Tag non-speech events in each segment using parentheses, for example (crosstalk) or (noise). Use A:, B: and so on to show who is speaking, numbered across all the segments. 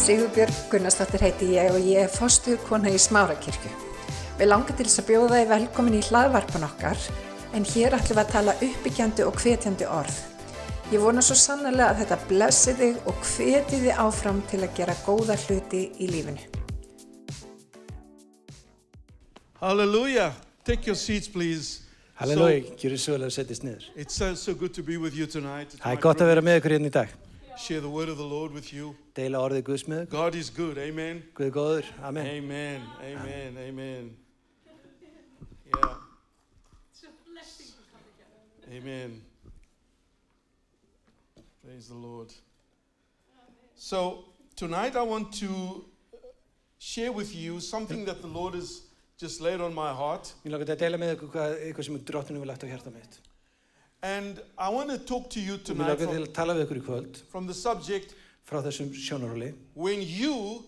A: Sigurbjörg Gunnarsdóttir heiti ég og ég er fostu kona í Smárakirkju. Við langar til þess að bjóða þið velkomin í hlaðvarpan okkar, en hér ætlum við að tala uppbyggjandi og hvetjandi orð. Ég vona svo sannlega að þetta blessi þig og hveti þig áfram til að gera góða hluti í lífinu.
B: Hallelujah. Take your seats, please.
C: Halleluja, gjur þið sögulega að setjast niður.
B: So, it's so, so good to be with you tonight. It's
C: Það
B: my
C: er gott að vera
B: privilege
C: með ykkur hérna í dag.
B: to Share the word of the Lord with you.
C: Deila orðið Guðs með ykkur.
B: God is good. Amen.
C: Guð er góður, amen.
B: Amen. Amen. Amen. Yeah. Amen. Praise the Lord. So, tonight I want to share with you something that the Lord has just laid on my heart.
C: Mér langar til að deila með ykkur hvað, ykkur sem drottinu vil lagt á hjarta mitt.
B: And I want to talk to you
C: Og
B: tonight
C: Mér langar til
B: from,
C: að tala við ykkur í kvöld
B: from the subject
C: frá þessum sjónaróli.
B: when you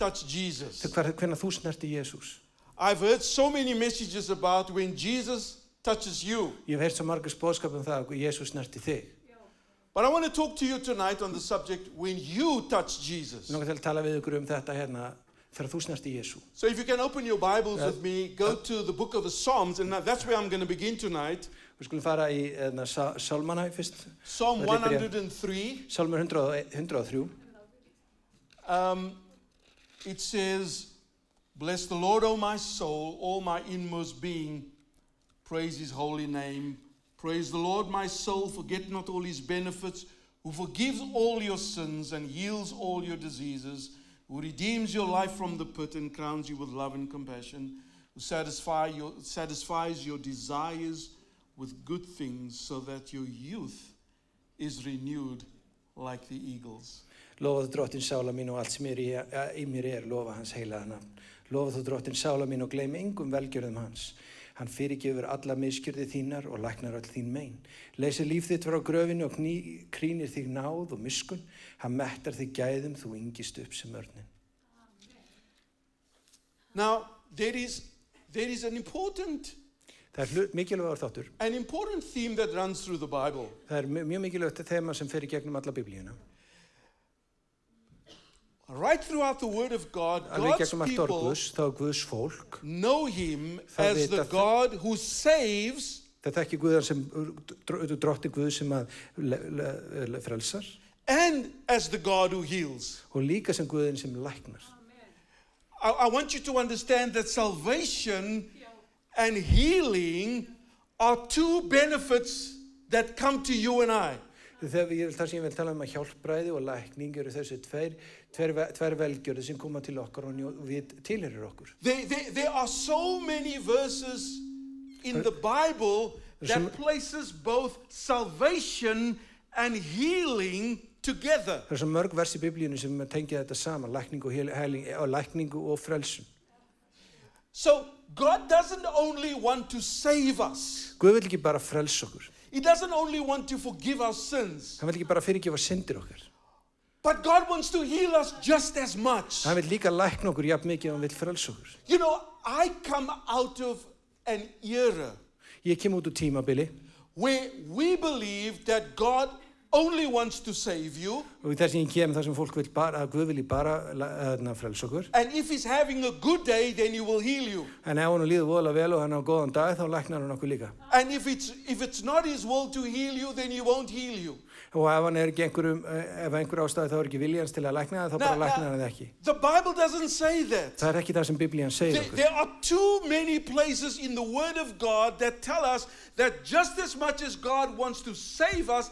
B: touch Jesus.
C: Hvernig þú snerti Jésús.
B: I've heard so many messages about when Jesus touches you,
C: Ég hef heyrt svo margir spóðskap um það að Jésús snerti þig.
B: but I want to talk to you tonight on the subject when you touch Jesus.
C: Mér langar til að tala við ykkur um þetta hérna þegar þú snerti Jésú.
B: So if you can open your Bibles
C: Uh,
B: with me, go to the book of the Psalms, and that- that's where I'm going to begin tonight.
C: Við skulum fara í hérna, Sa- Sálmana fyrst.
B: Psalm
C: Let me pray.
B: 103,
C: Sálmur 100 103.
B: um, it says, Bless the Lord, O my soul, all my inmost being. Praise his holy name. Praise the Lord, my soul. Forget not all his benefits, who forgives all your sins and heals all your diseases, who redeems your life from the pit and crowns you with love and compassion, who satisfy your, satisfies your desires with good things so that your youth is renewed like the eagles.
C: Lofað drottin sála mín og allt sem er í, í mér er, lofa hans heilaða nafn. Lofað þú drottin sála mín og gleymi engum velgjörðum hans. Hann fyrirgefur alla miskjörði þínar og læknar öll þín mein. Leysir líf þitt frá gröfinu og kný, krýnir þig náð og miskun. Hann mettar þig gæðum, þú yngist upp sem örnin.
B: Now, there is, there is an, important,
C: Það er hlut, mikilvægur þáttur.
B: an important theme that runs through the Bible.
C: Það er mj- mjög mikilvægt þema sem fer í gegnum alla biblíuna.
B: Right throughout the Word of God,
C: Alveg í
B: God's
C: gegnum allt orð
B: people
C: Guðs, þá er Guðs fólk.
B: know Him
C: Það
B: as the
C: vita þau.
B: God who saves
C: Þetta er ekki Guðan sem, drottin Guðs sem að le, le, le, frelsar
B: and as the God who heals.
C: og líka sem Guðin sem læknar.
B: I, I want you to understand that salvation and healing are two benefits that come to you and I.
C: Þegar við, það sem ég vil tala um að hjálpræði og lækning eru þessu tver, tver, tver velgjörði sem koma til okkar og njó, við tilherir okkur.
B: There, there, there are so many verses in the Bible that places both salvation and healing together.
C: Það er svo mörg vers í biblíunum sem tengja þetta saman, lækningu og, heil- heiling, eh, og, lækningu og frelsun.
B: So God doesn't only want to save us.
C: Guð vil ekki bara frelsa okkur.
B: He doesn't only want to forgive our sins,
C: Hann vil ekki bara fyrirgefa syndir okkar.
B: but God wants to heal us just as much.
C: Hann vil líka lækna okkur jafn mikið og hann vil frelsa okkur.
B: You know, I come out of an era
C: Ég kem út úr tímabili
B: where we believe that God only wants to save you,
C: og þess að ég kem þar sem fólk vil bara, að Guð vilji bara að frelsa okkur.
B: and if He's having a good day, then He will heal you.
C: En ef hann líður voðalega vel og hann á góðan dag þá læknar hann okkur líka.
B: And if it's, if it's not His will to heal you, then He won't heal you.
C: Og ef hann er ekki einhverjum, eh, ef einhver ástæði þá er ekki viljans til að lækna það, þá bara
B: Now,
C: læknar
B: now,
C: hann það ekki.
B: The Bible doesn't say that.
C: Það er ekki það sem Biblían segir
B: There,
C: okkur.
B: there are too many places in the Word of God that tell us that just as much as God wants to save us,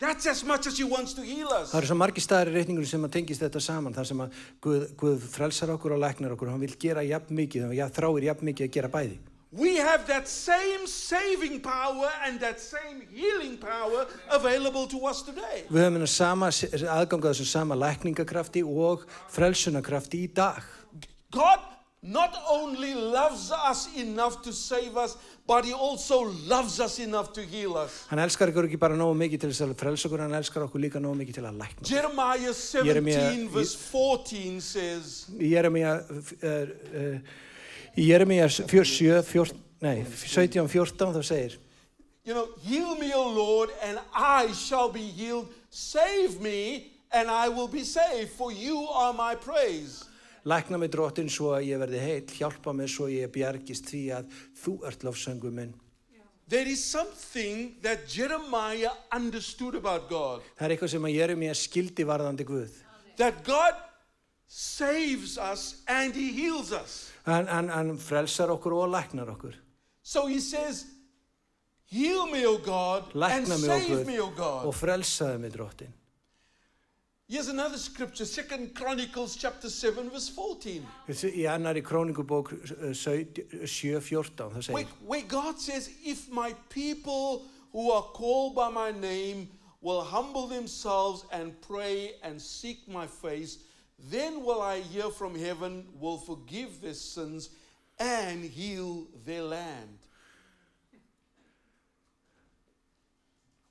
B: that's as much as He wants to heal us.
C: Það eru svo margir staðar í reikningunum sem að tengist þetta saman, þar sem að Guð, Guð frelsar okkur og læknar okkur og hann vil gera jafn mikið og ég þráir jafn mikið að gera bæði.
B: We have that same saving power and that same healing power available to us today.
C: Við höfum hennar sama aðganga þessum sama lækningakrafti og frelsunarkrafti í dag.
B: God not only loves us enough to save us, but He also loves us enough to heal us.
C: Hann elskar okkur ekki bara nógu mikið til þess að frelsa okkur, hann elskar okkur líka nógu mikið til að lækna. okkur.
B: Jeremiah 17,
C: Jeremiah-
B: verse 14 says,
C: Í Jeremia, er, uh, í Jeremia 47, 14, nei, 17, 14 þá segir
B: You know, heal me, O Lord, and I shall be healed. Save me, and I will be saved, for you are my praise.
C: Lækna mig drottin svo að ég verði heill, hjálpa mig svo ég bjargist því að þú ert lofsöngu minn.
B: There is something that Jeremiah understood about God
C: Það er eitthvað sem að Jeremia skildi varðandi Guð.
B: that God saves us and He heals us.
C: Hann, hann, hann frelsar okkur og læknar okkur.
B: So He says, Heal me, O God, and
C: Lækna mig
B: save me, O
C: okkur og
B: God.
C: frelsaði mig drottin.
B: Here's another scripture, 2 Chronicles chapter 7, verse 14,
C: Í annari króningubók eh, 7.14 það
B: where,
C: segir
B: where God says, If my people who are called by my name will humble themselves and pray and seek my face, then will I hear from heaven, will forgive their sins, and heal their land.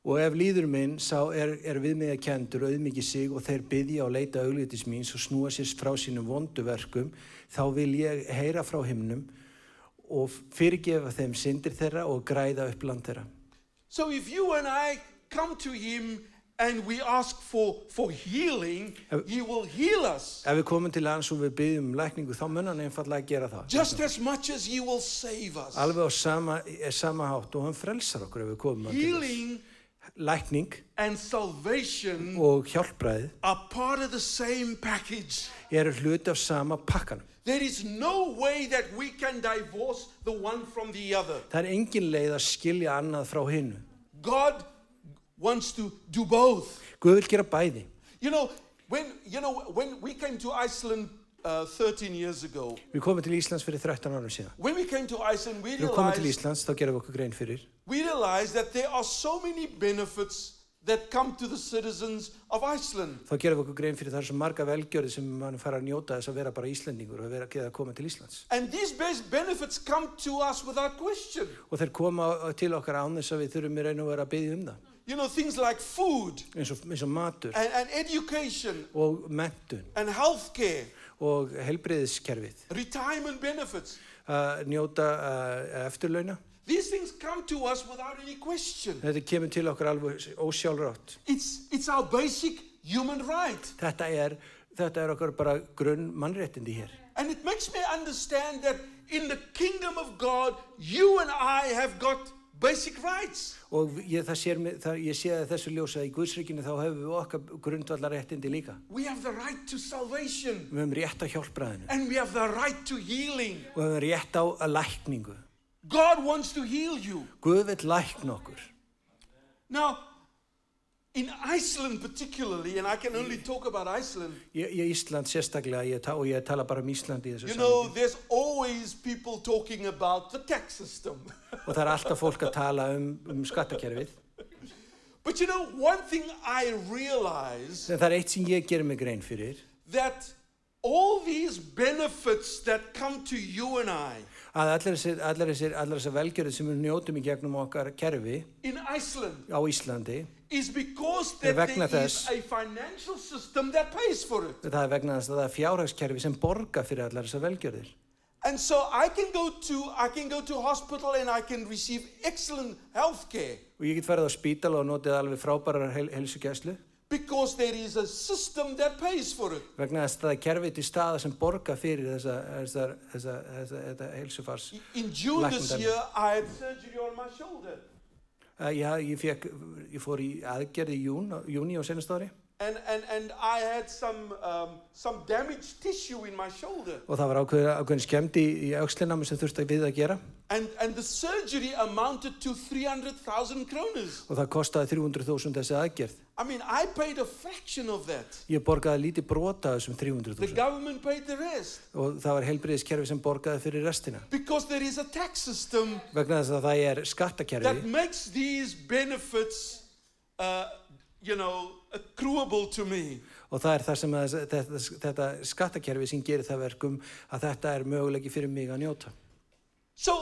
C: Og ef líður minn, sá er, er við mig að kendur, auðmikið sig og þeir byðja og leita auglitis mín og snúa sér frá sínum vonduverkum, þá vil ég heyra frá himnum og fyrirgefa þeim syndir þeirra og græða upp land þeirra.
B: So if you and I come to him and we ask for, for healing,
C: Have-
B: he will heal us
C: Ef við komum til hans og við byðjum um lækningu, þá mun hann einfallega að gera það.
B: just as much as he will save us.
C: Alveg á sama, eh, sama hátt og hann frelsar okkur ef við komum að til hans.
B: Healing
C: Lækning
B: and salvation
C: og hjálpræði
B: are part of the same package.
C: eru hluti af sama pakkanum.
B: There is no way that we can divorce the one from the other.
C: Það er engin leið að skilja annað frá hinnu.
B: God wants to do both.
C: Guð vil gera bæði.
B: You know, when you know when we came to Iceland uh, 13 years ago,
C: Við komum til Íslands fyrir 13 árum síðan.
B: when we came to Iceland, we
C: Þegar við komum
B: realized
C: til Íslands þá gerum við okkur grein fyrir
B: we realize that there are so many benefits that come to the citizens of Iceland.
C: þá gerum við okkur grein fyrir þar sem marga velgjörði sem mann fara að njóta þess að vera bara Íslendingur og vera að koma til Íslands
B: And these base benefits come to us without question.
C: og þeir koma til okkar án þess að við þurfum í raun og vera að byggja um það
B: You know, things like food
C: eins og, eins og matur
B: and, and education
C: og mentun
B: and healthcare,
C: og helbriðiskerfið
B: retirement benefits.
C: að njóta uh, eftirlauna
B: These things come to us without any question.
C: þetta kemur til okkar alveg ósjálfrátt
B: It's, it's our basic human right.
C: þetta er, þetta er okkar bara grunn mannréttindi hér
B: And it makes me understand that in the kingdom of God, you and I have got basic rights.
C: og ég, það sér, mig- það, ég sé að þessu ljósa í Guðsrykinu þá hefur við okkar grundvallaréttindi líka
B: We have the right to salvation.
C: Við höfum rétt á hjálpræðinu
B: and we have the right to healing.
C: og við höfum rétt á að lækningu.
B: God wants to heal you.
C: Guð vil lækna okkur.
B: Now, in Iceland particularly, and I can only talk about Iceland,
C: Ég, ég Ísland sérstaklega ég ta, og ég tala bara um Ísland í þessu
B: you
C: saman.
B: know, there's always people talking about the tax system. (laughs)
C: Og það er alltaf fólk að tala um, um skattakerfið.
B: but you know, one thing I realize
C: En það er eitt sem ég gerir mig grein fyrir.
B: that all these benefits that come to you and I,
C: Að allar þessar allar þessar, allar þessar velgjörðir sem við njótum í gegnum okkar kerfi
B: in Iceland
C: á Íslandi,
B: is because
C: Eh,
B: that
C: vegna
B: there is
C: þess-
B: a financial system that pays for it.
C: það er vegna þess að það er fjárhagskerfi sem borga fyrir allar þessar velgjörðir.
B: And so I can go to I can go to hospital and I can receive excellent health care
C: Og ég get farið á spítal og notið alveg frábærar hel, helsugæslu
B: because there is a system that pays for it.
C: vegna þess að það er kerfið til staða sem borga fyrir þessa, þessa, þessa, þessa, þessa helsufars.
B: In June
C: Lack
B: this
C: of
B: year, I had surgery on my shoulder,
C: Uh, já, ég, fékk, ég fór í aðgerð í jún, júni á senast ári
B: and and and I had some um, some damaged tissue in my shoulder,
C: og það var ákveðin, ákveðin skemmt í, í aukslinnami sem þurfti við að gera
B: and and the surgery amounted to three hundred thousand kroners.
C: og það kostaði 300.000 þessi aðgerð.
B: I mean, I paid a fraction of that.
C: Ég borgaði lítið brota af þessum
B: The
C: 300.000
B: government paid the rest
C: og það var helbriðiskerfi sem borgaði fyrir restina
B: because there is a tax system
C: vegna þess að það er
B: that
C: skattakerfi
B: makes these benefits, uh, you know, accruable to me.
C: og það er það sem að, þess- þetta, þetta skattakerfi sem gerir það verkum að þetta er mögulegi fyrir mig að njóta.
B: So,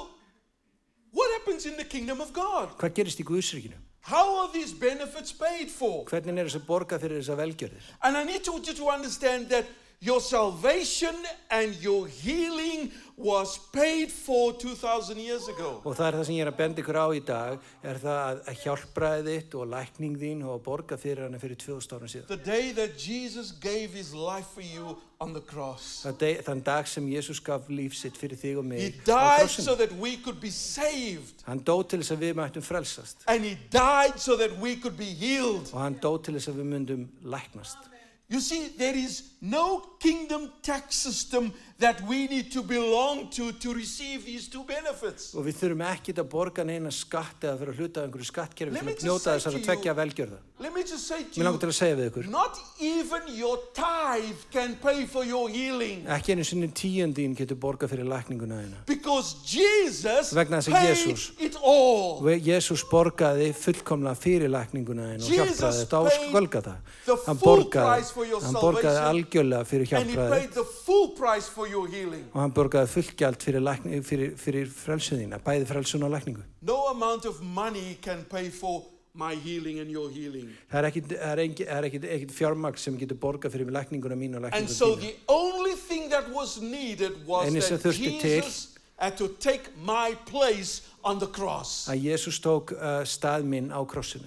B: what happens in the kingdom of God?
C: Hvað gerist í Guðsríkinu?
B: How are these benefits paid for?
C: Hvernig er þess að borga fyrir þessa velgjörðir?
B: And I need to, you to understand that Your salvation and your healing was paid for 2,000 years ago.
C: Og það er það sem ég er að benda ykkur á í dag, er það að, að hjálpraðið þitt og lækning þín og að borga fyrir hana fyrir 2000 árum síðan.
B: The day that Jesus gave his life for you on the cross,
C: Það deg, þann dag sem Jésús gaf líf sitt fyrir þig
B: he
C: og mig á
B: died so
C: krossinu.
B: that we could be saved,
C: Hann dó til þess að við mættum frelsast
B: and he died so that we could be healed.
C: og hann dó til þess að við myndum læknast.
B: You see, there is no kingdom tax system that we need to belong to to receive these two benefits.
C: Og við þurfum ekkit að borga neina skatt eða fyrir að hluta af einhverju skattkerfi
B: Let
C: sem
B: me
C: að
B: just
C: knjóta
B: say
C: þess að
B: to you-
C: tvekja velgjörða.
B: Let me just say to
C: Mér langar til
B: you,
C: að segja við ykkur,
B: not even your tithe can pay for your healing.
C: ekki einu sinni tíundín getur borga fyrir lækninguna þína.
B: Because Jesus
C: Vegna þess að
B: paid
C: Jesús-
B: it all.
C: Og Jésús borgaði fullkomlega fyrir lækninguna þín og
B: Jesus
C: hjálpraði þetta á
B: paid
C: skölgata.
B: the
C: Hann
B: full
C: borgaði,
B: price for your
C: hann borgaði
B: salvation
C: algjörlega fyrir
B: And he
C: hjálpraði
B: paid the full price for your healing.
C: og hann borgaði fullgjald fyrir, lækni, fyrir, fyrir frelsun þína, bæði frelsun og lækningu.
B: No amount of money can pay for my healing and your healing.
C: Það er ekkit, það er engi- það er ekkit, ekkit fjármagn sem getur borgað fyrir lækninguna mín og
B: And
C: lækningu
B: so
C: þína.
B: the only thing that was needed was
C: Einu sem
B: that
C: þurfti til-
B: Jesus had to take my place on the cross.
C: Að Jésús tók uh, stað minn á krossinu.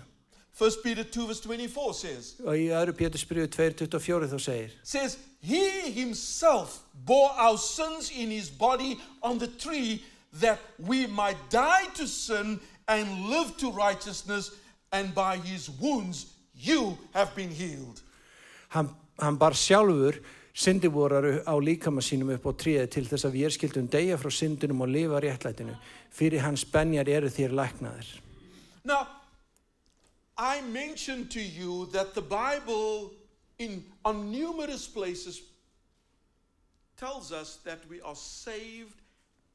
B: 1 Peter 2 verse 24 says,
C: Og í öðru Pétur spyrjuðu 2.24 þá segir,
B: says he himself bore our sins in his body on the tree that we might die to sin and live to righteousness and by his wounds you have been healed
C: hann, hann bar sjálfur syndivorar á líkama sínum upp á tríði til þess að við skildum deyja frá syndunum og lifa réttlætinu. Fyrir hans benjar eru þér læknaðir.
B: now i mentioned to you that the bible in on numerous places tells us that we are saved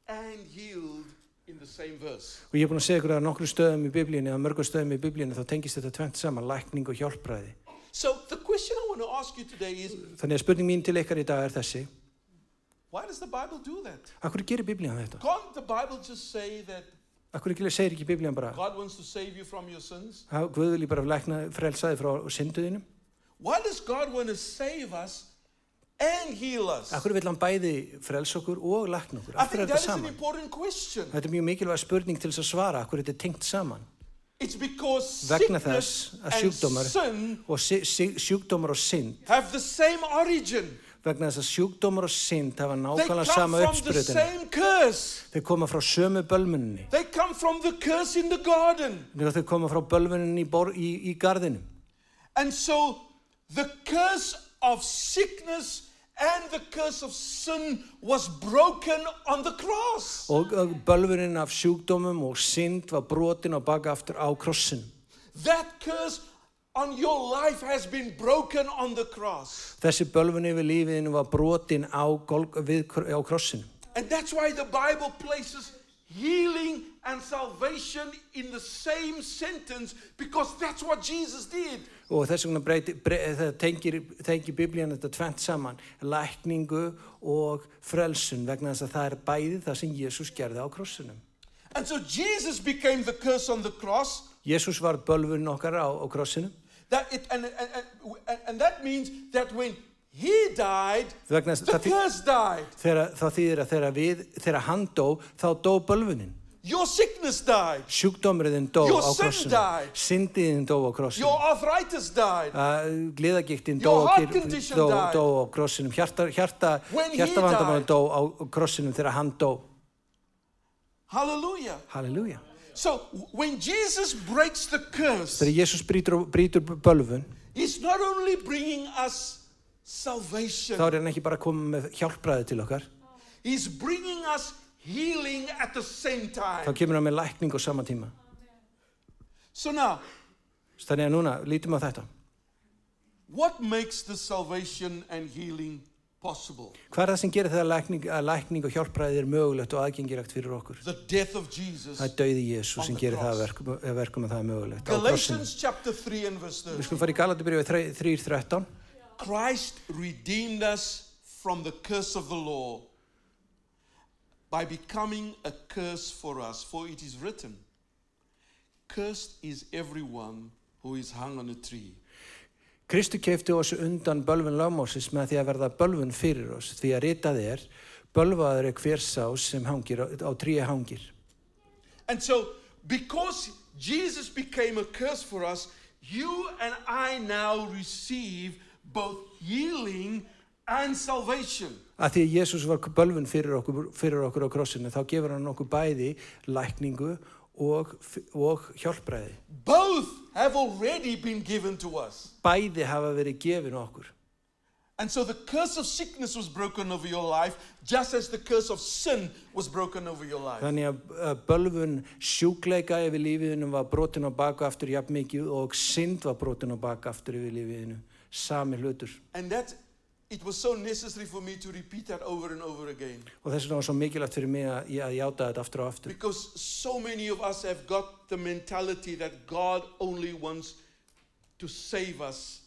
B: and healed in the same verse
C: Og ég er búin að segja ykkur að á nokkrum stöðum í biblíunni eða mörgum stöðum í biblíunni þá tengist þetta tvent saman, lækning og hjálpræði.
B: so the question i want to ask you today is
C: Þannig að spurning mín til ykkar í dag er þessi.
B: why does the bible do that
C: Akkur gerir biblían þetta?
B: Can't the Bible just say that
C: Akkur ekki segir ekki biblían bara,
B: God wants to save you from your sins?
C: "Ha, Guð vil ég bara lækna frelsaði frá synduðinu?
B: Why does God want to save us and heal us?
C: Akkur vil hann bæði frels okkur og lækna okkur?
B: I
C: Akkur
B: think
C: er
B: that
C: þetta
B: is an
C: saman?
B: important question.
C: Þetta er mjög mikilvæg spurning til þess að svara, akkur þetta er tengt saman.
B: It's because
C: Vegna
B: sickness
C: þess að
B: and
C: sjúkdómar-
B: sin
C: og si- si- sjúkdómar og synd
B: have the same origin.
C: vegna þess að sjúkdómar og synd hafa
B: They come from
C: nákvæmlega sama
B: the
C: uppsprutinu
B: same curse.
C: þau koma frá sömu bölmunni
B: They come from the curse in the garden.
C: þau koma frá bölmunni í, bor, í, í gardinum
B: And so the curse of sickness and the curse of sin was broken on the cross.
C: og og bölvunin af sjúkdómum og synd var brotin og baka aftur á krossin
B: That curse on your life has been broken on the cross.
C: þessi bölvun yfir lífiðinu var brotin á, gol, við, kr- á krossin
B: And that's why the Bible places healing and salvation in the same sentence because that's what Jesus did.
C: og þess vegna breyti, bre, eh, það tengir, tengir biblían þetta tvent saman lækningu og frelsun vegna þess að það er bæði það sem Jésús gerði á krossinum
B: And so Jesus became the curse on the cross.
C: Jésús var bölvun okkar á, á krossinu
B: That it, and, and, and- and, and that means that when he died,
C: vegna þess-
B: the
C: það, þý-
B: curse died.
C: þegar, það þýðir að þegar, við, þegar hann dó þá dó bölvunin
B: Your sickness died.
C: sjúkdómurinn dó
B: Your
C: á
B: sin
C: krossinu
B: died.
C: syndiðin dó á
B: Your
C: krossinu
B: arthritis died.
C: gleðagiktin dó,
B: Your
C: á
B: heart
C: kir-
B: condition
C: dó,
B: died.
C: dó á krossinum hjarta, hjarta,
B: When he
C: hjartavandamál
B: died.
C: dó á krossinum þegar hann dó
B: Hallelujah.
C: halleluja
B: So when Jesus breaks the curse,
C: þegar Jésús brýtur, brýtur bölvun
B: He's not only bringing us salvation,
C: þá er hann ekki bara að koma með hjálpræði til okkar
B: He's bringing us healing at the same
C: þá
B: time.
C: kemur hann með lækningu á sama tíma
B: So now,
C: þannig að núna lítum á þetta
B: what makes the salvation and healing possible?
C: Hvað er það sem gerir þegar lækning, að lækning og hjálpræði er mögulegt og aðgengilegt fyrir okkur?
B: The death of Jesus.
C: Það er dauði Jésu
B: On
C: sem
B: the
C: gerir það að
B: cross.
C: verkum, að verkum að það er mögulegt. Á krossinum.
B: Galatians chapter 3 and verse
C: Við
B: 30.
C: skulum fara í Galatabrjóði 3.13.
B: Christ redeemed us from the curse of the law by becoming a curse for us, for it is written, Cursed is everyone who is hung on a tree.
C: Kristu keifti oss undan bölvun lagmósins með því að verða bölvun fyrir oss, því að ritað er, bölvaður er hver sá sem hangir, á- á tríi hangir.
B: And so, because Jesus became a curse for us, you and I now receive both healing and salvation.
C: Að því að Jésús var bölvun fyrir okkur, fyrir okkur á krossinu, þá gefur hann okkur bæði lækningu og, og hjálpræði.
B: Both have already been given to us.
C: Bæði hafa verið gefin okkur.
B: And so the curse of sickness was broken over your life, just as the curse of sin was broken over your life.
C: Þannig að að bölvun sjúkleika yfir lífiðinu var brotin á baka aftur jafn mikið og synd var brotin á baka aftur yfir lífiðinu. Sami hlutur.
B: And that it was so necessary for me to repeat that over and over again.
C: Og þess vegna var svo mikilvægt fyrir mig að, að játa þetta aftur og aftur.
B: Because so many of us have got the mentality that God only wants to save us,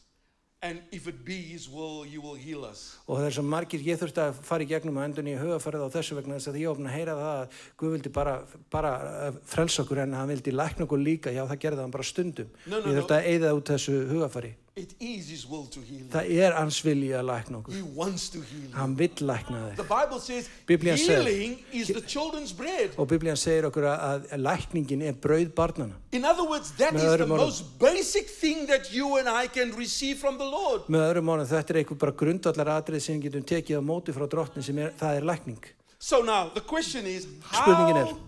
B: and if it be His will, He will heal us.
C: Og það er svo margir, ég þurfti að fara í gegnum að endun í hugafærið á þessu vegna þess að ég ofna að heyra það að Guð vildi bara, bara eh, frelsa okkur en hann vildi lækna okkur líka, já það gerði hann bara stundum.
B: No, no,
C: ég
B: no.
C: þurfti að eyða út þessu hugafæri.
B: It is His will to heal you.
C: Það er hans vilji að lækna okkur.
B: He wants to heal you.
C: Hann vill lækna þig.
B: The Bible says
C: Biblia says-
B: healing is the children's bread.
C: Og Biblían segir okkur að, að lækningin er brauð barnana.
B: In other words, that
C: Met
B: is the
C: andere woorden-
B: most basic thing that you and I can receive from the Lord.
C: Með öðrum orðum þetta er eitthvað bara grundvallar atrið sem við getum tekið á móti frá drottni sem er, það er lækning.
B: So now the question is,
C: Spurning it
B: how
C: out.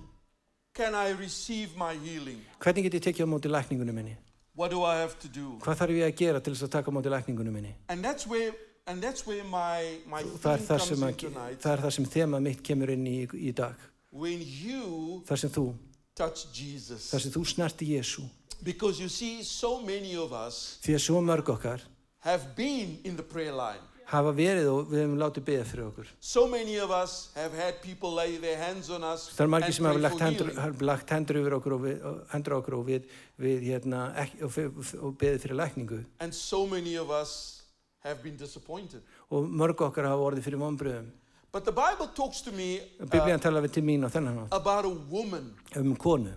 B: can I receive my healing?
C: Hvernig get ég tekið á móti lækningunum minni?
B: What do I have to do?
C: Hvað þarf ég að gera til þess að taka á móti lækningunum minni?
B: And that's where and that's where my my
C: Það er
B: theme
C: það
B: comes
C: sem,
B: in
C: að,
B: tonight.
C: það er það sem þema mitt kemur inn í, í dag.
B: When you
C: Þar sem þú,
B: touch Jesus,
C: þar sem þú snerti Jésu.
B: because you see, so many of us
C: Því að svo mörg okkar
B: have been in the prayer line.
C: hafa verið og við hefum látið beða fyrir okkur.
B: So many of us have had people lay their hands on us.
C: Það er margir
B: and
C: sem hafa
B: pray
C: lagt
B: for
C: hendur,
B: healing.
C: hafa lagt hendur yfir okkur og við, hendur á okkur og við, við hérna, ekki, og, og, og beðið fyrir lækningu.
B: And so many of us have been disappointed.
C: og mörg okkar hafa orðið fyrir vonbröðum.
B: But the Bible talks to me uh,
C: Biblían talar við til mín á þennan hátt
B: about a woman
C: um konu.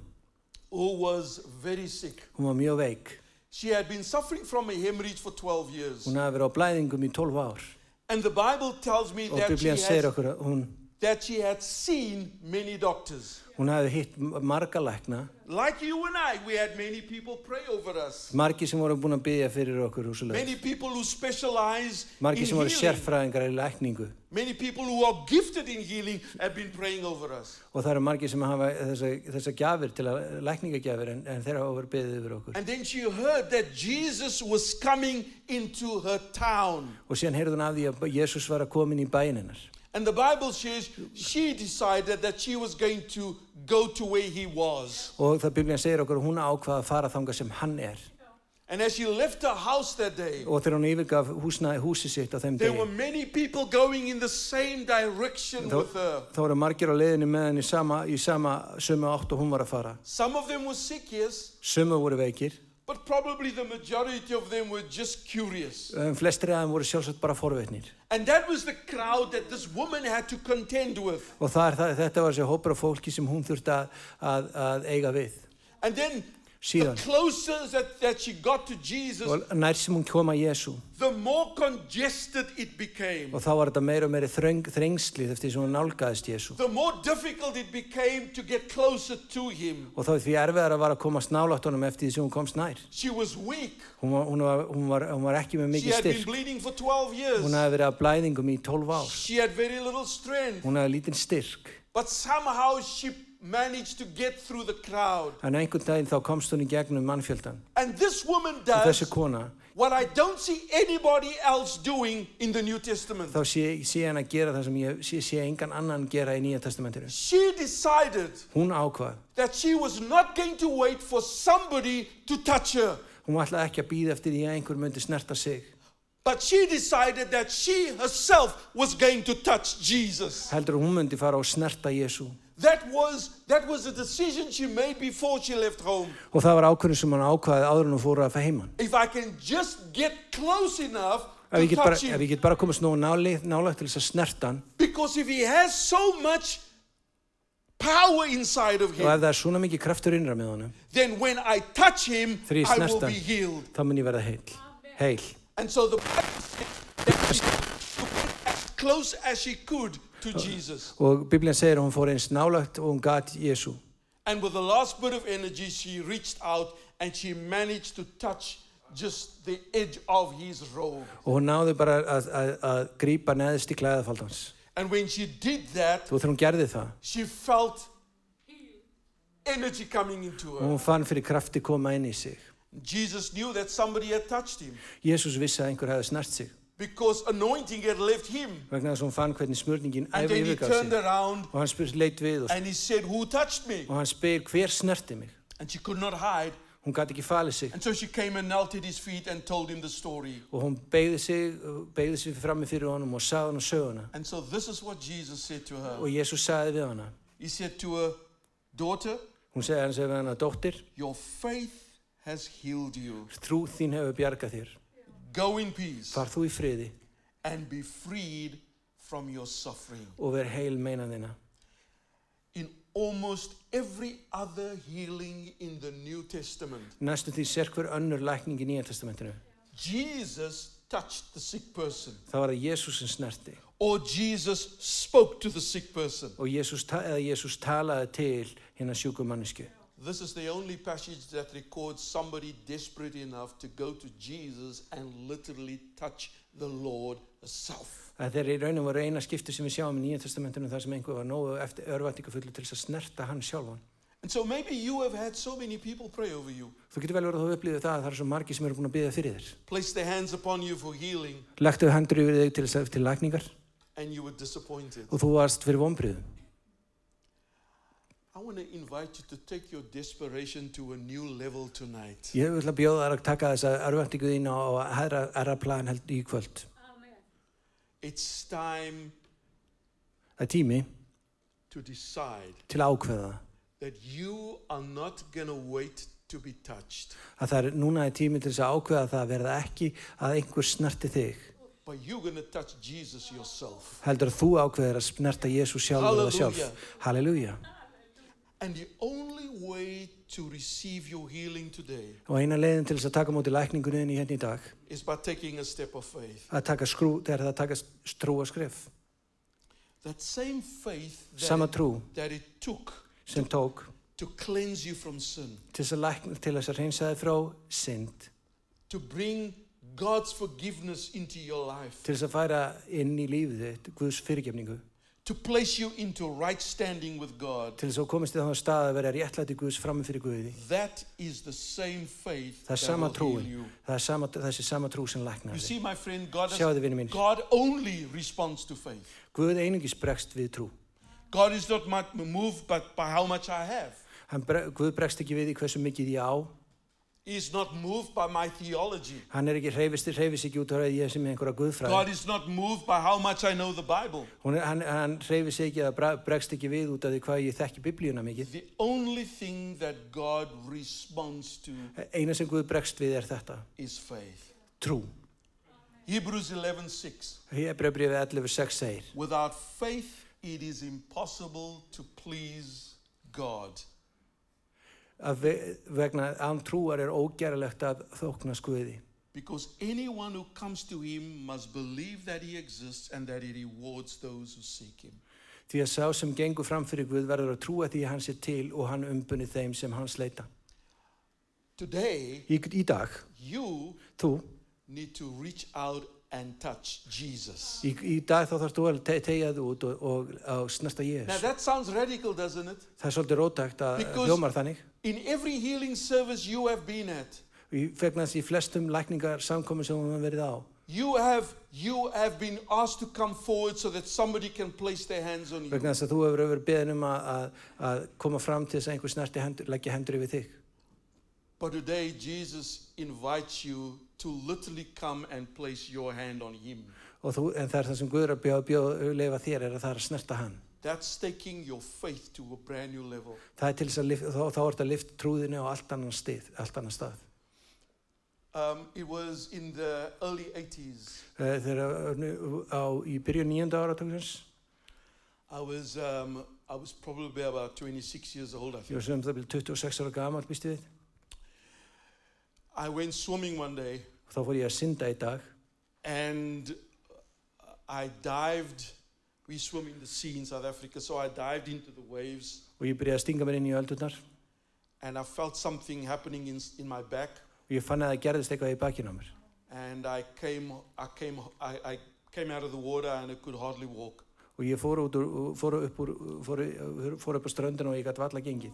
B: who was very sick.
C: Hún var mjög veik.
B: She had been suffering from a hemorrhage for 12 years.
C: Hún hafi verið á blæðingum í 12 ár
B: And the Bible tells me
C: og
B: that she,
C: Biblían segir
B: has,
C: okkur að hún,
B: that she had seen many doctors.
C: hún hafi hitt marga lækna,
B: Like you and I, we had many people pray over us.
C: margi sem voru búin að byggja fyrir okkur og svoleiðis.
B: Many people who specialize
C: Margi
B: in
C: sem voru
B: healing.
C: sérfræðingar í lækningu
B: Many people who are gifted in healing have been praying over us.
C: og það eru margi sem hafa þessa, þessa gjafir til að lækningagjafir en, en þeirra hafa verið byggðið yfir okkur.
B: And then she heard that Jesus was coming into her town.
C: Og síðan heyrði hún af því að Jésús var að komin í bæin hennar.
B: And the Bible says she decided that she was going to go to where he was.
C: Og það Biblían segir okkur að hún ákvaða að fara þanga sem hann er.
B: And as she left her house that day,
C: og þegar hún yfirgaf húsnaði húsi sitt á þeim
B: there were
C: degi
B: many people going in the same direction
C: þá,
B: with her.
C: þá voru margir á leiðinni með henni sama, í sama sömu átt og hún var að fara
B: Some of them were sick, yes,
C: sömu voru veikir
B: but probably the majority of them were just curious.
C: um, flestri af þeim voru sjálfsagt bara forveitnir
B: And that was the crowd that this woman had to contend with.
C: og það er, það, þetta var þessi hópur af fólki sem hún þurfti að, að, að eiga við
B: And then the
C: Síðan.
B: closer that, that she got to Jesus,
C: og nær sem hún kom að Jésu
B: the more congested it became.
C: og þá var þetta meira og meira þröng, þrengslið eftir því sem hún nálgaðist Jésu
B: The more difficult it became to get closer to him.
C: og þá því erfiðar að var að komast nálátt honum eftir því sem hún komst nær
B: She was weak.
C: hún var, hún var, hún var, hún var ekki með
B: She
C: mikið
B: had been
C: styrk
B: bleeding for 12
C: hún
B: years.
C: hafði verið að blæðingum í 12 ár
B: She had very little strength.
C: hún hafði lítinn styrk
B: But somehow she managed to get through the crowd.
C: En einhvern daginn þá komst hún í gegnum mannfjöldan.
B: And this woman
C: Og þessi
B: does
C: kona,
B: what I don't see anybody else doing in the New Testament.
C: þá sé, sé hann að gera það sem ég sé, sé engan annan gera í Nýja testamentinu.
B: She decided
C: Hún ákvað.
B: that she was not going to wait for somebody to touch her.
C: Hún ætlaði ekki að býða eftir því að einhver myndi snerta sig.
B: But she decided that she herself was going to touch Jesus.
C: Heldur að hún myndi fara og snerta Jésu.
B: That was that was a decision she made before she left home.
C: Og það var ákvörðin sem hann ákvaði áður en hún fór að fæ heimann.
B: If I can just get close enough
C: Ef
B: to
C: ég get bara,
B: touch
C: ef
B: him,
C: ég get bara komast nógu náli, nálagt til þess að snerta hann
B: because if he has so much power inside of
C: og
B: him,
C: ef það er svona mikið kraftur innra með honum,
B: then when I touch him,
C: þegar ég
B: I will
C: snerta
B: be
C: hann,
B: healed.
C: þá mun ég verða heil. Heil.
B: And so the Bible said that she went as close as she could to
C: Oh.
B: Jesus.
C: Og Biblian segir að hún fór eins nálagt og hún gat Jésu.
B: And with the last bit of energy, she reached out and she managed to touch just the edge of his robe.
C: Og hún náði bara að, að, að grípa neðist í klæðafald hans.
B: And when she did that,
C: Og þegar hún gerði það,
B: she felt energy coming into
C: og
B: her.
C: hún fann fyrir krafti koma inn í sig.
B: Jesus knew that somebody had touched him
C: Jésús vissi að einhver hefði snart sig.
B: because anointing had left him.
C: Vegna þess að hún fann hvernig smörningin
B: And
C: æfði
B: then he
C: yfirgaf
B: turned
C: sig.
B: around
C: Og hann spyr leit við og,
B: and he said, Who touched me?
C: og hann spyr hver snerti mig.
B: And she could not hide.
C: Hún gat ekki falið sig
B: And so she came and knelt at his feet and told him the story.
C: og hún beigði sig, beigði sig frammi fyrir honum og sagði hann söguna.
B: And so this is what Jesus said to her.
C: Og Jésús sagði við hana.
B: He said to her, Daughter,
C: Hún segði hann segði við hana, dóttir,
B: your faith has healed you.
C: trú þín hefur bjargað þér.
B: Go in peace
C: Far þú í friði
B: and be freed from your suffering.
C: og ver heil meina þína.
B: In almost every other healing in the New Testament,
C: Næstum því sér hver önnur lækning í Nýja testamentinu.
B: Jesus touched the sick person
C: Það var að Jésús sem snerti
B: or Jesus spoke to the sick person.
C: og Jésús, ta eða Jésús talaði til hérna sjúkum mannesku.
B: This is the only passage that records somebody desperate enough to go to Jesus and literally touch the Lord herself.
C: Það er í raunum var eina skipti sem við sjáum í Nýja testamentinu þar sem einhver var nógu eftir örvætingafullu til þess að snerta hann sjálfan.
B: And so maybe you have had so many people pray over you,
C: Þú getur vel verið að þú upplýðu það að það er svo margi sem eru búin að byggja fyrir þér.
B: place their hands upon you for healing,
C: Læktuðu hendur yfir þig til, þess- til lækningar
B: and you were disappointed.
C: og þú varst fyrir vonbriðum.
B: I want to invite you to take your desperation to a new level tonight.
C: Ég vil að bjóða þær að taka þessa örvætingu þína og herra, herra plan held í kvöld.
B: It's time
C: Það er tími
B: to decide
C: til að ákveða það.
B: that you are not going to wait to be touched,
C: að það er núna er tími til þess að ákveða það að verða ekki að einhver snerti þig
B: but you're going to touch Jesus yourself.
C: heldur að þú ákveðir að snerta Jésús sjálfur eða sjálf Halleluja
B: And the only way to receive your healing today
C: og eina leiðin til þess að taka móti lækningunni þinni hérna í dag
B: is by taking a step of faith.
C: að taka skrú, þegar það taka strúa skref
B: That same faith
C: sama
B: that,
C: trú
B: that it took
C: sem tók
B: to cleanse you from sin,
C: til þess að, lækna, til þess að reynsa þið frá synd
B: to bring God's forgiveness into your life,
C: til þess að færa inn í lífið þitt Guðs fyrirgefningu
B: to place you into right standing with God.
C: til þess að þú komist í þannig stað að vera réttlæti Guðs frammi fyrir Guði
B: That is the same faith
C: það er
B: that
C: sama
B: will heal
C: trúin
B: you.
C: það er sama, þessi sama trú sem læknar
B: You
C: þig
B: see, my friend, God, has-
C: Sjáðu, vinur minn.
B: God only responds to faith.
C: Guð einungis bregst við trú
B: God is not mu- moved but by how much I have.
C: Hann bre Guð bregst ekki við í hversu mikið ég á.
B: He is not moved by my theology.
C: Hann er ekki hreyfist, hreyfist ekki út á að ég sem er einhverja
B: God
C: guðfræði.
B: is not moved by how much I know the Bible.
C: Hún Er, hann, hann hreyfist ekki eða bre- bregst ekki við út af því hvað ég þekki biblíuna mikið.
B: The only thing that God responds to
C: Eina sem Guð bregst við er þetta.
B: is faith.
C: Trú.
B: Hebrews 11:6
C: Hebreabrið 11.6 segir.
B: Without faith it is impossible to please God.
C: Að ve- vegna án trúar er ógerlegt að þóknast Guði.
B: Because anyone who comes to him must believe that he exists and that he rewards those who seek him.
C: Því að sá sem gengur fram fyrir Guð verður að trúa því að hann sé til og hann umbunni þeim sem hann sleita.
B: Today
C: Í, í dag,
B: you
C: þú,
B: need to reach out and touch Jesus.
C: í, í dag þá þarfst þú að te tegja þú út og, og, og snerta Jésu.
B: Now that sounds radical, doesn't it?
C: Það er svolítið rótækt að
B: Because-
C: hljómar þannig.
B: In every healing service you have been at,
C: Í vegna þess í flestum lækningar samkomi sem hún verið á.
B: You have, you have been asked to come forward so that somebody can place their hands on you.
C: Vegna þess að þú hefur verið beðin um að, að, að koma fram til þess að einhver snerti hendur, leggja hendur yfir þig.
B: But today, Jesus invites you to literally come and place your hand on him.
C: Og þú, en það er það sem Guður að bjóða, bjóða leifa þér er að það er að snerta hann.
B: That's taking your faith to a brand new level.
C: Það er til þess að lif, þá, þá ertu að lifta trúðinu á allt annan stið, allt annan stað.
B: Um, it was in the early 80s.
C: Eh, Þegar nú- á, í byrjun nýjönda áratöksins,
B: I was, um, I was probably about 26 years old, I
C: ég
B: think.
C: var sem það byrjum 26 ára gamall, býstu við,
B: I went swimming one day
C: Og þá fór ég að synda í dag
B: and I dived. We swim in the sea in South Africa, so I dived into the waves
C: og ég byrjaði að stinga mér inn í öldurnar og
B: and I felt something happening in, in my back.
C: ég fann að það gerðist eitthvað í bakinu á mér.
B: And I came, I came, I, I came out of the water and I could hardly walk.
C: Og ég fór, út úr, fór, upp, úr, fór, fór upp á ströndinu og ég gæti valla gengið.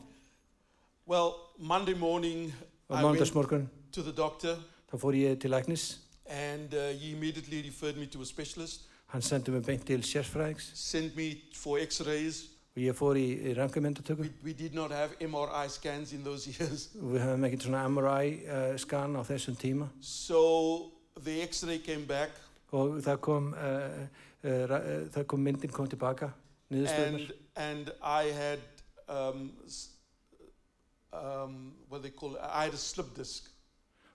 B: Well, Monday morning,
C: Og
B: I went
C: mándagsmorgun,
B: to the doctor
C: þá fór ég til læknis.
B: and uh, he immediately referred me to a specialist,
C: Hann sendi mig beint til sérfræðings
B: sent me for x rays.
C: og ég fór í, í rangamyndatöku.
B: We, we did not have MRI scans in those (laughs) years.
C: og Við höfum ekkert svona MRI-skan eh, á þessum tíma
B: So the x ray came back
C: og það kom, uh, uh, ra- uh, það kom myndin kom tilbaka, niðurstöðunar.
B: and and I had um, s- um, what they call I had a slip disc.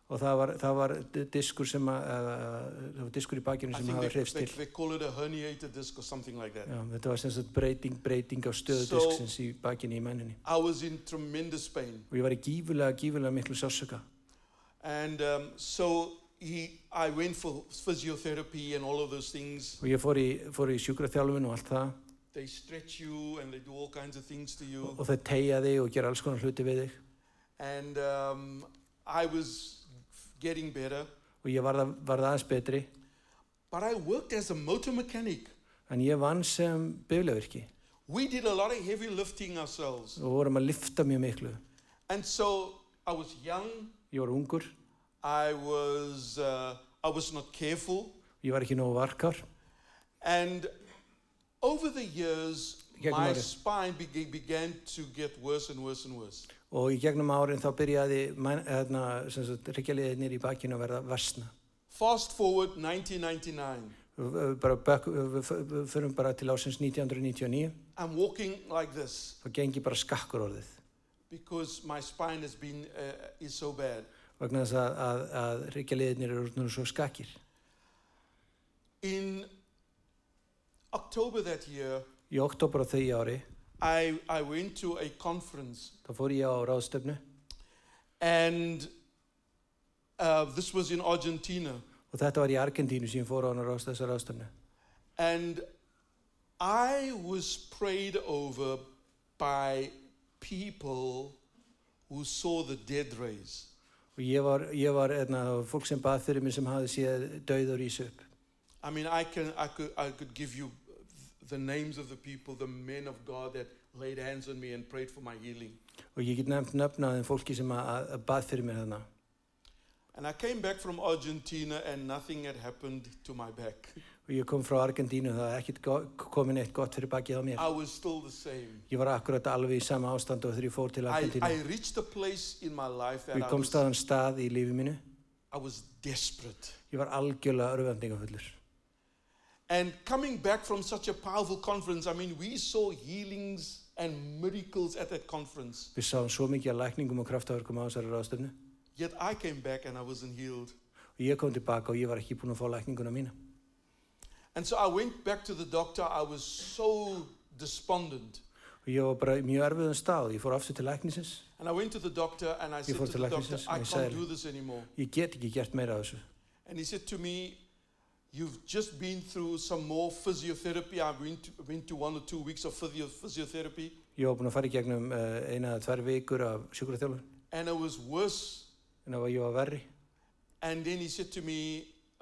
C: Og það var, það var d- diskur sem að, uh, það var diskur í bakinu
B: I
C: sem
B: think
C: hafa
B: they,
C: hrifst
B: they,
C: til.
B: they call it a herniated disc or something like that.
C: Já, þetta var sem sagt breyting, breyting á stöðu
B: So-
C: disksins í bakinu í menninni.
B: I was in tremendous pain,
C: Og ég var í gífulega, gífulega miklu sásöka.
B: and um, so he I went for physiotherapy and all of those things.
C: Og ég fór í, fór í sjúkraþjálfun og allt það
B: They stretch you and they do all kinds of things to
C: og,
B: you,
C: og þau tegja þig og gera alls konar hluti við þig.
B: and um, I was getting better.
C: Og ég varð, að- varð aðeins betri.
B: But I worked as a motor mechanic.
C: En ég vann sem biflevirki
B: We did a lot of heavy lifting ourselves,
C: og vorum að lifta mjög miklu.
B: and so I was young.
C: Ég var ungur
B: I was uh, I was not careful,
C: Ég var ekki nógu varkar.
B: and over the years,
C: Yeah,
B: my
C: Gloria.
B: spine bega- began to get worse and worse and worse.
C: Og í gegnum árin þá byrjaði hérna, hryggjarliðinir í bakkinu að verða versna.
B: Fast forward 1999,
C: Við við bara bök, við f- við förum bara til ásins 1999.
B: I'm walking like this
C: Þá gengi bara skakkur orðið.
B: because my spine has been uh, is so bad.
C: Vegna þess að, að, að hryggjarliðinir eru nú svo skakkir.
B: In October that year,
C: Í oktober á þau ári
B: I I went to a conference,
C: þá fór ég á ráðstöfnu
B: and uh, this was in Argentina.
C: og þetta var í Argentínu sem ég fór á hana ráðst, þessa ráðstöfnu.
B: And I was prayed over by people who saw the dead raise.
C: Og ég var, ég var eðna, fólk sem bað fyrir mig sem hafði séð dauður í söp.
B: I mean, I, can, I, could, I could give you the names of the people, the men of God that laid hands on me and prayed for my healing.
C: Og ég get nefnt nöfnaðin fólki sem að, að- að bað fyrir mér þarna.
B: And I came back from Argentina and nothing had happened to my back.
C: og ég kom frá Argentínu það er ekkert go- komin eitt gott fyrir bakið á mér
B: I was still the same.
C: ég var akkurat alveg í sama ástand og þegar ég fór
B: I,
C: til
B: I
C: Argentínu
B: reached a place in my life
C: og
B: that
C: ég
B: I
C: kom
B: was,
C: staðan stað í lífi mínu
B: I was desperate.
C: ég var algjörlega örvendingafullur
B: And coming back from such a powerful conference, I mean, we saw healings and miracles at that conference.
C: við sáum svo mikið að lækningum og kraftavörkum á þessari ráðstöfnu
B: Yet I came back and I wasn't healed.
C: og ég kom tilbaka og ég var ekki búinn að fá lækninguna mína
B: And so I went back to the doctor. I was so despondent.
C: og ég var bara í mjög erfiðum stað og ég fór aftur til læknisins
B: And I went to the doctor and I said
C: felt
B: to the
C: like
B: doctor,
C: this,
B: I
C: my
B: can't
C: cell.
B: do this anymore.
C: ég get ekki gert meira af þessu
B: And he said to me, You've just been through some more physiotherapy. I went to, went to one or two weeks of physio- physiotherapy
C: ég var búinn að fara í gegnum uh, eina eða tvær vikur af sjúkraþjálfun
B: and it was worse.
C: en það var ég var verri
B: And then he said to me,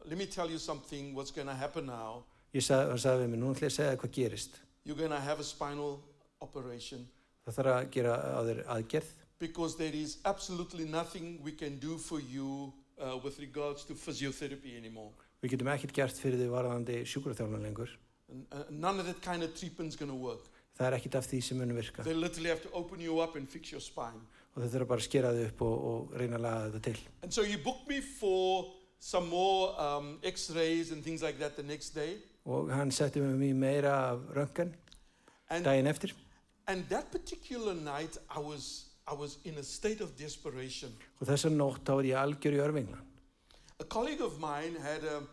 B: Let me tell you something, what's going to happen now.
C: ég sag, hann sagði við mig, nú ætla ég að segja þér hvað gerist
B: you're going to have a spinal operation
C: það þarf að gera á þér aðgerð
B: because there is absolutely nothing we can do for you uh, with regards to physiotherapy anymore.
C: Við getum ekkert gert fyrir því varðandi sjúkraþjálfun lengur.
B: N- uh, None of that kind of treatment's going to work.
C: Það er ekkert af því sem mun virka
B: They literally have to open you up and fix your spine.
C: og þau þurfa bara að skera þau upp og, og reyna að laga þetta til.
B: And so you booked me for some more um, x rays and things like that the next day.
C: Og hann setti mig mér meira af röngan
B: And,
C: daginn eftir
B: and that particular night, I was, I was in a state of desperation.
C: og þessa nótt þá er ég algjör í örvinglan.
B: A colleague of mine had, a,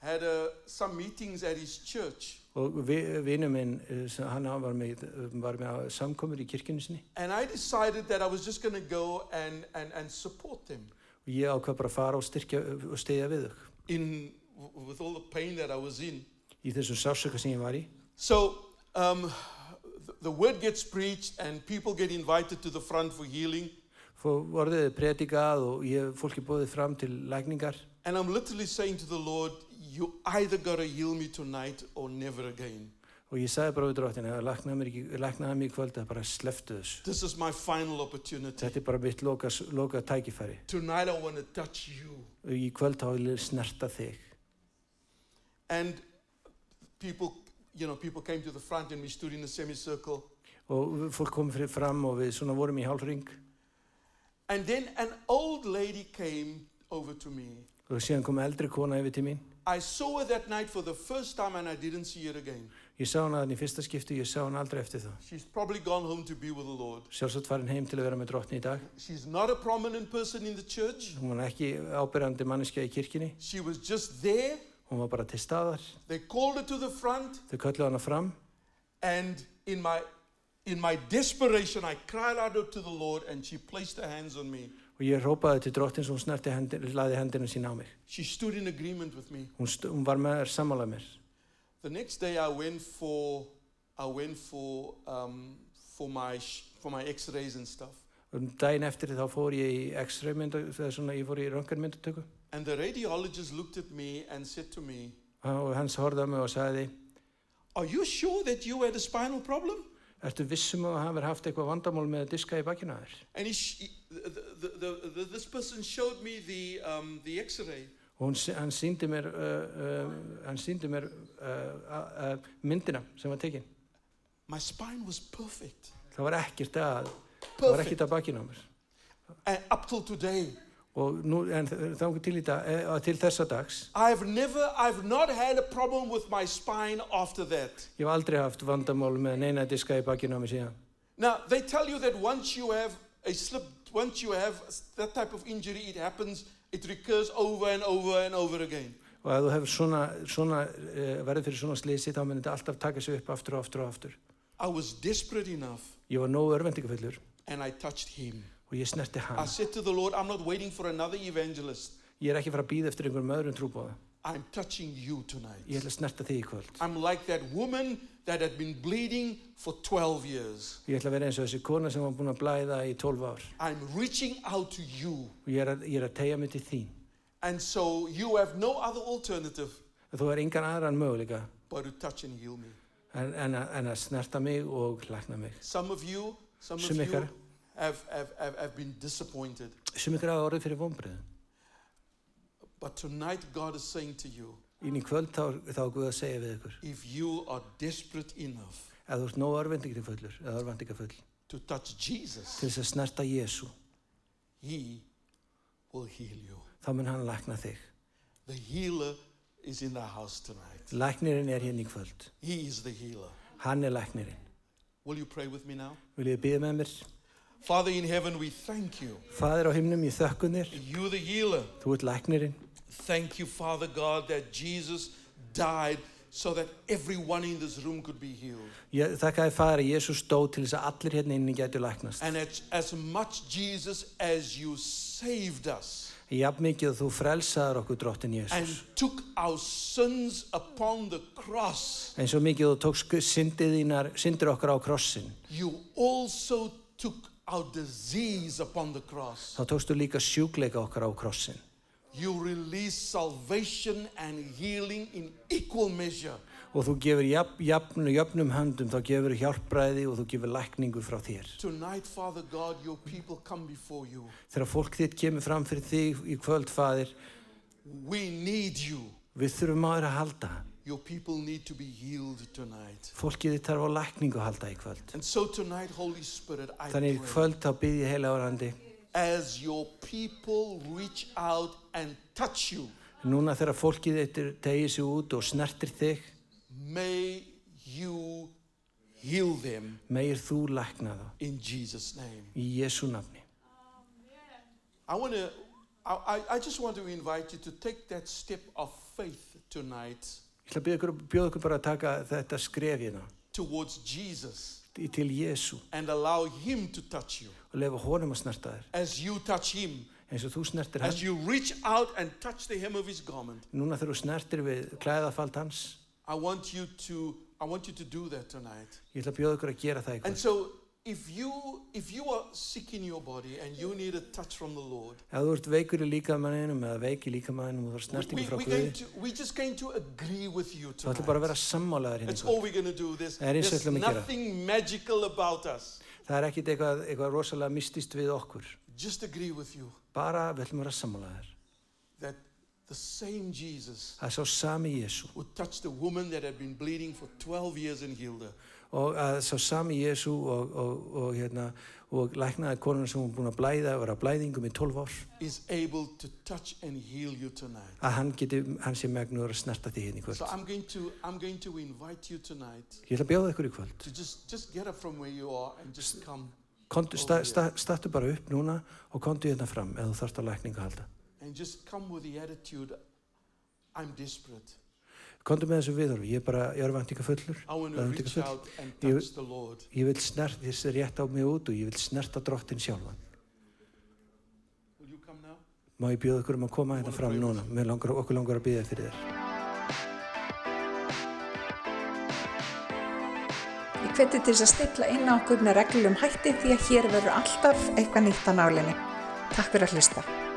B: had a, some meetings at his church.
C: Og vi- vinur minn, eh, sem- hann á- var með, var með samkomur í kirkjunni sinni
B: And I decided that I was just going to go and, and, and support them.
C: og ég ákvað bara að fara og styrkja og stegja við þau
B: in, w- with all the pain that I was in.
C: í þessum sásöka sem ég var í
B: So um, th- the word gets preached and people get invited to the front for healing.
C: Fó- orðið er predikað og ég, fólki bóðið fram til lækningar
B: And I'm literally saying to the Lord, you either got to heal me tonight or never again.
C: og ég sagði bara við dróttin að læknaði mér ekki, læknaði mér í kvöld að bara sleftu þessu
B: This is my final opportunity.
C: þetta er bara mitt loka, loka tækifæri
B: Tonight I want to touch you.
C: og í kvöld þá vil ég snerta þig
B: And people, you know, people came to the front and we stood in a semicircle.
C: og fólk kom fyrir fram og við svona vorum í hálfring
B: And then an old lady came over to me.
C: og síðan kom eldri kona yfir til mín
B: I saw her that night for the first time and I didn't see her again.
C: ég sá hana þannig í fyrsta skipti og ég sá hana aldrei eftir það
B: She's probably gone home to be with the Lord.
C: sjálfsagt farin heim til að vera með drottni í dag
B: She's not a prominent person in the church.
C: hún var ekki ábyrjandi manneskja í kirkjunni
B: She was just there.
C: hún var bara til staðar
B: They called her to the front
C: þau kölluðu hana fram
B: and in my in my desperation I cried out to the Lord and she placed her hands on me.
C: og ég hrópaði til drottins og hún snerti hendir, laði hendina sín á mig
B: She stood in agreement with me.
C: hún, st- hún var með sammála mér
B: The next day I went for I went for um, for my sh- for my x-rays and stuff.
C: og Um daginn eftir þá fór ég í x-ray mynda þegar svona ég fór í röngarmyndatöku
B: And the radiologist looked at me and said to me,
C: og hans horfði á mig og sagði
B: "Are you sure that you had a spinal problem?"
C: ertu vissum að hann verið haft eitthvað vandamál með að diska í bakinu að þér
B: And he sh- the, the, the, the, this person showed me the um, the x-ray.
C: og hún, s- hann síndi mér uh, uh, hann síndi mér uh, uh, uh, myndina sem var tekin
B: My spine was perfect.
C: það var ekkert að það var
B: Perfect.
C: ekkert að bakinu á mér
B: And uh, up till today,
C: og nú, en þá til í dag eh, til þessa dags
B: I've never, I've not had a problem with my spine after that.
C: ég hef aldrei haft vandamál með neina diska í bakinu á mér síðan
B: Now they tell you that once you have a slip, once you have that type of injury, it happens, it recurs over and over and over again.
C: og ef þú hefur svona, svona uh, verið fyrir svona slisi þá munir þetta alltaf taka sig upp aftur og aftur og aftur
B: I was desperate enough,
C: ég var nógu örvendingafullur
B: and I touched him.
C: og ég snerti
B: I
C: hann
B: said to the Lord, "I'm not waiting for another evangelist.
C: ég er ekki að fara að býða eftir einhverjum öðrum trúbóða
B: I'm touching you tonight."
C: ég ætla að snerta þig í kvöld
B: I'm like that woman that had been bleeding for 12 years.
C: ég ætla að vera eins og þessi kona sem var búin að blæða í 12 ár
B: I'm reaching out to you.
C: og ég er að, ég er að tegja mig til þín
B: And so you have no other alternative
C: þú er engan aðran möguleika
B: but to touch and heal me.
C: en, en, að, en að snerta mig og lækna mig
B: Some of you, some of
C: Sem
B: you
C: ykkar.
B: have, have, have, have been disappointed.
C: sem ykkur hafa orðið fyrir vonbreðum
B: But tonight God is saying to you,
C: inn í kvöld þá, þá er Guð að segja við ykkur
B: if you are desperate enough
C: ef þú ert nógu örvendingafullur eða örvendingafull
B: to touch Jesus,
C: til þess að snerta Jésu
B: he will heal you.
C: þá mun hann lækna þig
B: The healer is in the house tonight.
C: læknirinn er hérna í kvöld
B: He is the healer.
C: hann er læknirinn
B: Will you pray with me now?
C: vil ég byrja með mér
B: Father in heaven, we thank you.
C: Fadir á himnum ég þökkun þér
B: You the healer.
C: þú ert læknirinn
B: Thank you, Father God, that Jesus died so that everyone in this room could be healed.
C: ég þakkaði Fadir að Jésu stó til þess að allir hérna inni gætu læknast
B: And as, as much, Jesus, as you saved us
C: jafn mikið að þú frelsaðar okkur drottin
B: and
C: Jésus
B: took our sins upon the cross,
C: eins og mikið þú tókst syndið þínar syndir okkar á krossin
B: you also took our disease upon the cross.
C: þá tókstu líka sjúkleika okkar á krossin
B: You released salvation and healing in equal measure.
C: og þú gefur jafn, jafn, jafnum höndum þá gefur hjálpræði og þú gefur lækningu frá þér
B: Tonight, Father God, your people come before you.
C: þegar fólk þitt kemur fram fyrir þig í kvöld Fadir
B: We need you.
C: við þurfum á þér að halda
B: Your people need to be healed tonight.
C: fólkið þitt þarf á lækningu að halda í kvöld
B: And so tonight, Holy Spirit, I
C: þannig í
B: pray
C: kvöld þá byrð ég heila orðandi
B: as your people reach out and touch you,
C: núna þegar fólkið þitt er- tegir sig út og snertir þig
B: may you heal them
C: megir þú lækna þá
B: in Jesus' name.
C: í Jésu nafni
B: I want to. I, I- I just want to invite you to take that step of faith tonight
C: ég ætla að bjóða ykkur, bjóða ykkur bara að taka þetta skref hérna
B: towards Jesus
C: í- til Jésu
B: and allow Him to touch you.
C: og lefa honum að snerta þér
B: As you touch Him,
C: eins og þú snertir hann.
B: As you reach out and touch the hem of his garment,
C: Núna þegar þú snertir við klæðafald hans,
B: I want you to I want you to do that tonight.
C: ég ætla að bjóða ykkur að gera það
B: And
C: ykkur.
B: so if you if you are sick in your body and you need a touch from the Lord,
C: Ef þú ert veikur í líkamæninum eða veik í líkamæninum og þú
B: we,
C: ert snertingu frá
B: we
C: Guði,
B: going to, we just going to agree with you
C: þá ætla bara
B: tonight.
C: að vera sammálaðar hérna
B: That's
C: ykkur.
B: all we're going to do. There's,
C: Er is
B: there's
C: het om een keer.
B: nothing magical about us.
C: Það er ekkit eitthvað, eitthvað rosalega mistist við okkur.
B: Just agree with you
C: Bara við ætlum að vera sammálaðar.
B: that the same Jesus
C: Það er sá sami Jésu
B: who touched the woman that had been bleeding for 12 years in Hilda
C: og að sá sami Jésu og, og, og, hérna, og læknaði konuna sem hún búin að blæða og var að blæðingum í 12 ár
B: is able to touch and heal you tonight.
C: að hann, geti, hann sé megnur að snerta því hérna í kvöld.
B: So I'm going to I'm going to invite you tonight
C: Ég ætla að bjóða ykkur í kvöld.
B: to just just get up from where you are and just come
C: Kondu, sta, sta, stattu bara upp núna og kondu hérna fram ef þú þarft á lækningu að halda.
B: and just come with the attitude I'm desperate.
C: Kondu með þessu viðhorfi, ég er bara, ég er vantíka fullur.
B: I want to reach
C: örvæntingarfull.
B: out and
C: You-
B: touch the Lord.
C: Ég vil snert, þessi rétt á mig út og ég vil snerta drottin sjálfan.
B: Will you come now?
C: Má ég bjóða ykkur um að koma hérna
B: Wanna
C: fram
B: pray
C: núna? Mér Langar, okkur langar að býða fyrir þér.
A: Ég hveti til þess að stilla inn á okkur með reglum hætti því að hér verður alltaf eitthvað nýtt á nálinni. Takk fyrir að hlusta.